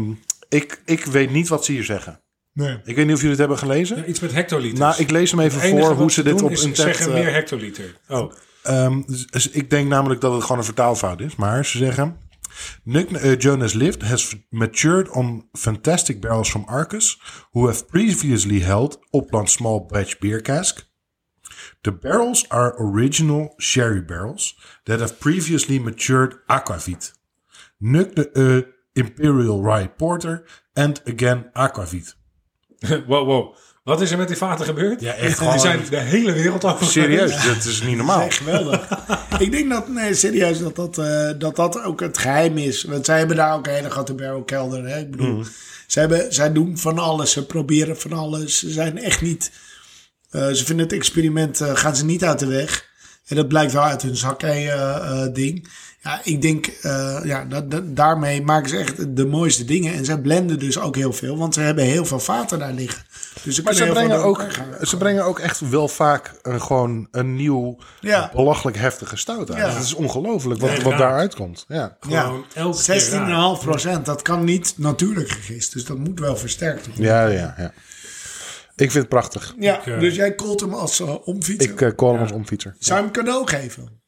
[SPEAKER 2] ik, ik weet niet wat ze hier zeggen.
[SPEAKER 3] nee.
[SPEAKER 2] Ik weet niet of jullie het hebben gelezen.
[SPEAKER 1] Ja, iets met hectoliters.
[SPEAKER 2] nou, ik lees hem even
[SPEAKER 1] Het enige
[SPEAKER 2] voor
[SPEAKER 1] wat
[SPEAKER 2] hoe ze dit
[SPEAKER 1] doen
[SPEAKER 2] op eh,
[SPEAKER 1] is
[SPEAKER 2] een tekst...
[SPEAKER 1] zeggen meer hectoliter. Oh,
[SPEAKER 2] Ehm, dus ik denk namelijk dat het gewoon een vertaalfout is. Maar ze zeggen... Nick eh, Jonas Lift has matured on fantastic barrels from Arcus... who have previously held Opland Small Batch Beer Cask. The barrels are original sherry barrels... that have previously matured aquavit. Nuc de eh, Imperial Rye Porter and again aquavit.
[SPEAKER 1] wow, wow. Wat is er met die vaten gebeurd?
[SPEAKER 2] Ja, echt
[SPEAKER 1] Die
[SPEAKER 2] gewoon-
[SPEAKER 1] zijn de hele wereld over.
[SPEAKER 2] Serieus, dat is niet normaal.
[SPEAKER 3] Oh, Geweldig. ik denk dat, nee, serieus, dat dat, eh, dat dat ook het geheim is. Want zij hebben daar ook een hele grote barrelkelder, hè? Ik
[SPEAKER 2] Mm.
[SPEAKER 3] bedoel, zij, hebben, zij doen van alles, ze proberen van alles. Ze zijn echt niet. eh, ze vinden het experiment, eh, gaan ze niet uit de weg. En dat blijkt wel uit hun zakkei-ding. ja, ik denk, eh, ja, dat, dat- daarmee maken ze echt de mooiste dingen. En zij blenden dus ook heel veel, want ze hebben heel veel vaten daar liggen. Dus ze
[SPEAKER 2] Maar ze
[SPEAKER 3] kunnen heel
[SPEAKER 2] brengen,
[SPEAKER 3] veel
[SPEAKER 2] ook,
[SPEAKER 3] door elkaar gaan.
[SPEAKER 2] ze brengen ook echt wel vaak een, gewoon een nieuw,
[SPEAKER 3] Ja.
[SPEAKER 2] belachelijk heftige stout uit.
[SPEAKER 3] Ja.
[SPEAKER 2] Het is ongelooflijk wat,
[SPEAKER 1] Ja,
[SPEAKER 2] wat
[SPEAKER 1] ja.
[SPEAKER 2] daaruit komt. Ja.
[SPEAKER 1] Gewoon elke keer raar.
[SPEAKER 3] 16,5 procent. Dat kan niet natuurlijk gegist. Dus dat moet wel versterkt worden.
[SPEAKER 2] ja, ja, ja. Ik vind het prachtig.
[SPEAKER 3] Ja,
[SPEAKER 1] Ik, eh,
[SPEAKER 3] dus jij called hem als eh, omfietser.
[SPEAKER 2] Ik eh call hem als omfietser.
[SPEAKER 3] Zou je hem cadeau geven?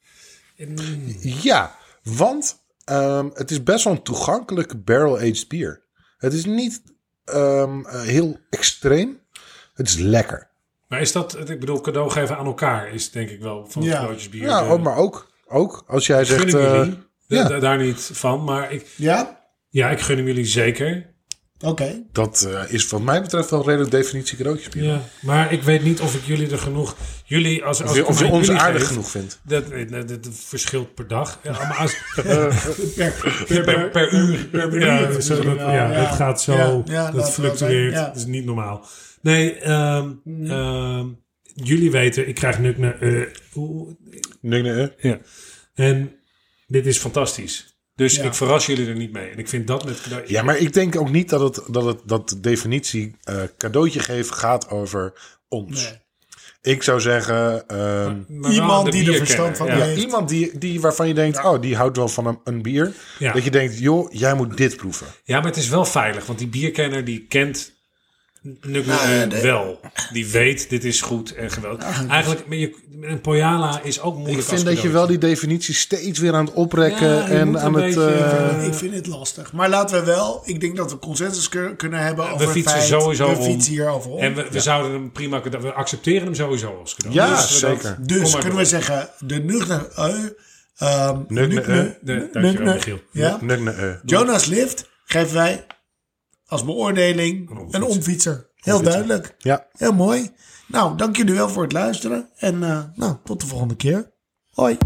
[SPEAKER 2] Ja, want ehm, het is best wel een toegankelijk barrel-aged bier. Het is niet ehm, eh, heel extreem. Het is lekker.
[SPEAKER 1] Maar is dat, ik bedoel, cadeau geven aan elkaar is denk ik wel van
[SPEAKER 3] Ja.
[SPEAKER 1] grootjes bier.
[SPEAKER 2] Ja,
[SPEAKER 1] de-
[SPEAKER 2] ook- maar ook, ook als jij
[SPEAKER 1] gun
[SPEAKER 2] zegt...
[SPEAKER 1] ik
[SPEAKER 2] eh,
[SPEAKER 1] jullie. Da-
[SPEAKER 2] ja.
[SPEAKER 1] da- Daar niet van, maar ik,
[SPEAKER 3] Ja?
[SPEAKER 1] ja, ik gun hem jullie zeker.
[SPEAKER 3] Oké.
[SPEAKER 2] dat eh, is wat mij betreft wel redelijk definitie cadeautjebier.
[SPEAKER 1] Ja. Maar ik weet niet of ik jullie er genoeg, jullie als, als
[SPEAKER 2] Of je,
[SPEAKER 1] ik
[SPEAKER 2] of je
[SPEAKER 1] hem aan
[SPEAKER 2] ons
[SPEAKER 1] jullie
[SPEAKER 2] aardig
[SPEAKER 1] geef,
[SPEAKER 2] genoeg vindt.
[SPEAKER 1] Dat, nee, dat, dat verschilt per dag. Ja, maar als,
[SPEAKER 3] Per,
[SPEAKER 1] per, per, per uur. ja,
[SPEAKER 3] uur
[SPEAKER 1] zo dat-
[SPEAKER 3] misschien wel,
[SPEAKER 1] ja,
[SPEAKER 3] ja.
[SPEAKER 1] het gaat zo.
[SPEAKER 3] Ja, ja, laten we
[SPEAKER 1] dat
[SPEAKER 3] dat
[SPEAKER 1] fluctueert.
[SPEAKER 3] zijn, ja.
[SPEAKER 1] Dat is niet normaal. Nee, ehm, ehm, jullie weten, ik krijg nu naar. eh, hoe-
[SPEAKER 2] Nee, nee. hè?
[SPEAKER 1] ja. En dit is fantastisch. Dus
[SPEAKER 3] Ja.
[SPEAKER 1] ik verras jullie er niet mee. En ik vind dat met. cadeau-
[SPEAKER 2] Ja, maar ik denk ook niet dat, het, dat, het, dat de definitie eh, cadeautje geven gaat over ons.
[SPEAKER 3] Nee.
[SPEAKER 2] Ik zou zeggen, ehm,
[SPEAKER 1] maar wel
[SPEAKER 3] Iemand
[SPEAKER 1] aan de
[SPEAKER 3] die er
[SPEAKER 1] bierkenner,
[SPEAKER 3] verstand van
[SPEAKER 1] ja.
[SPEAKER 2] ja,
[SPEAKER 3] heeft-
[SPEAKER 2] iemand die, die waarvan je denkt, oh, die houdt wel van een, een bier.
[SPEAKER 1] Ja.
[SPEAKER 2] Dat je denkt, joh, jij moet dit proeven.
[SPEAKER 1] Ja, maar het is wel veilig, want die bierkenner die kent Nuk
[SPEAKER 3] ja, Nou, de- Nou,
[SPEAKER 1] wel. Die weet, dit is goed en geweldig. Eigenlijk, maar je, een Poyala is ook moeilijk
[SPEAKER 2] Ik vind
[SPEAKER 1] als
[SPEAKER 2] dat je wel
[SPEAKER 1] cadeautje.
[SPEAKER 2] die definitie steeds weer aan het oprekken
[SPEAKER 1] Ja, je moet
[SPEAKER 2] en
[SPEAKER 1] een
[SPEAKER 2] aan het...
[SPEAKER 1] beetje-
[SPEAKER 2] eh,
[SPEAKER 3] ik vind het lastig. Maar laten we wel... Ik denk dat we consensus kun- kunnen hebben over
[SPEAKER 1] We
[SPEAKER 3] het
[SPEAKER 1] fietsen
[SPEAKER 3] feit-
[SPEAKER 1] sowieso
[SPEAKER 3] We
[SPEAKER 1] om.
[SPEAKER 3] fietsen hierover om.
[SPEAKER 1] En we, we zouden hem prima... cadeau- We accepteren hem sowieso als cadeau.
[SPEAKER 2] Ja,
[SPEAKER 1] Dus we dat-
[SPEAKER 2] zeker.
[SPEAKER 1] kom
[SPEAKER 3] dus
[SPEAKER 1] maar
[SPEAKER 3] kunnen
[SPEAKER 1] door.
[SPEAKER 3] we zeggen... De nuchter eu... ehm
[SPEAKER 2] Nuk-
[SPEAKER 3] nukne-
[SPEAKER 1] Nee, dankjewel,
[SPEAKER 3] nukne-
[SPEAKER 1] Michiel.
[SPEAKER 3] Ja?
[SPEAKER 2] Nee, nee, eh.
[SPEAKER 3] Jonas Lift geven wij als beoordeling een omfietser. Heel duidelijk.
[SPEAKER 2] Ja.
[SPEAKER 3] Heel mooi. Nou, dank jullie wel voor het luisteren. En eh, nou, tot de volgende keer. Hoi.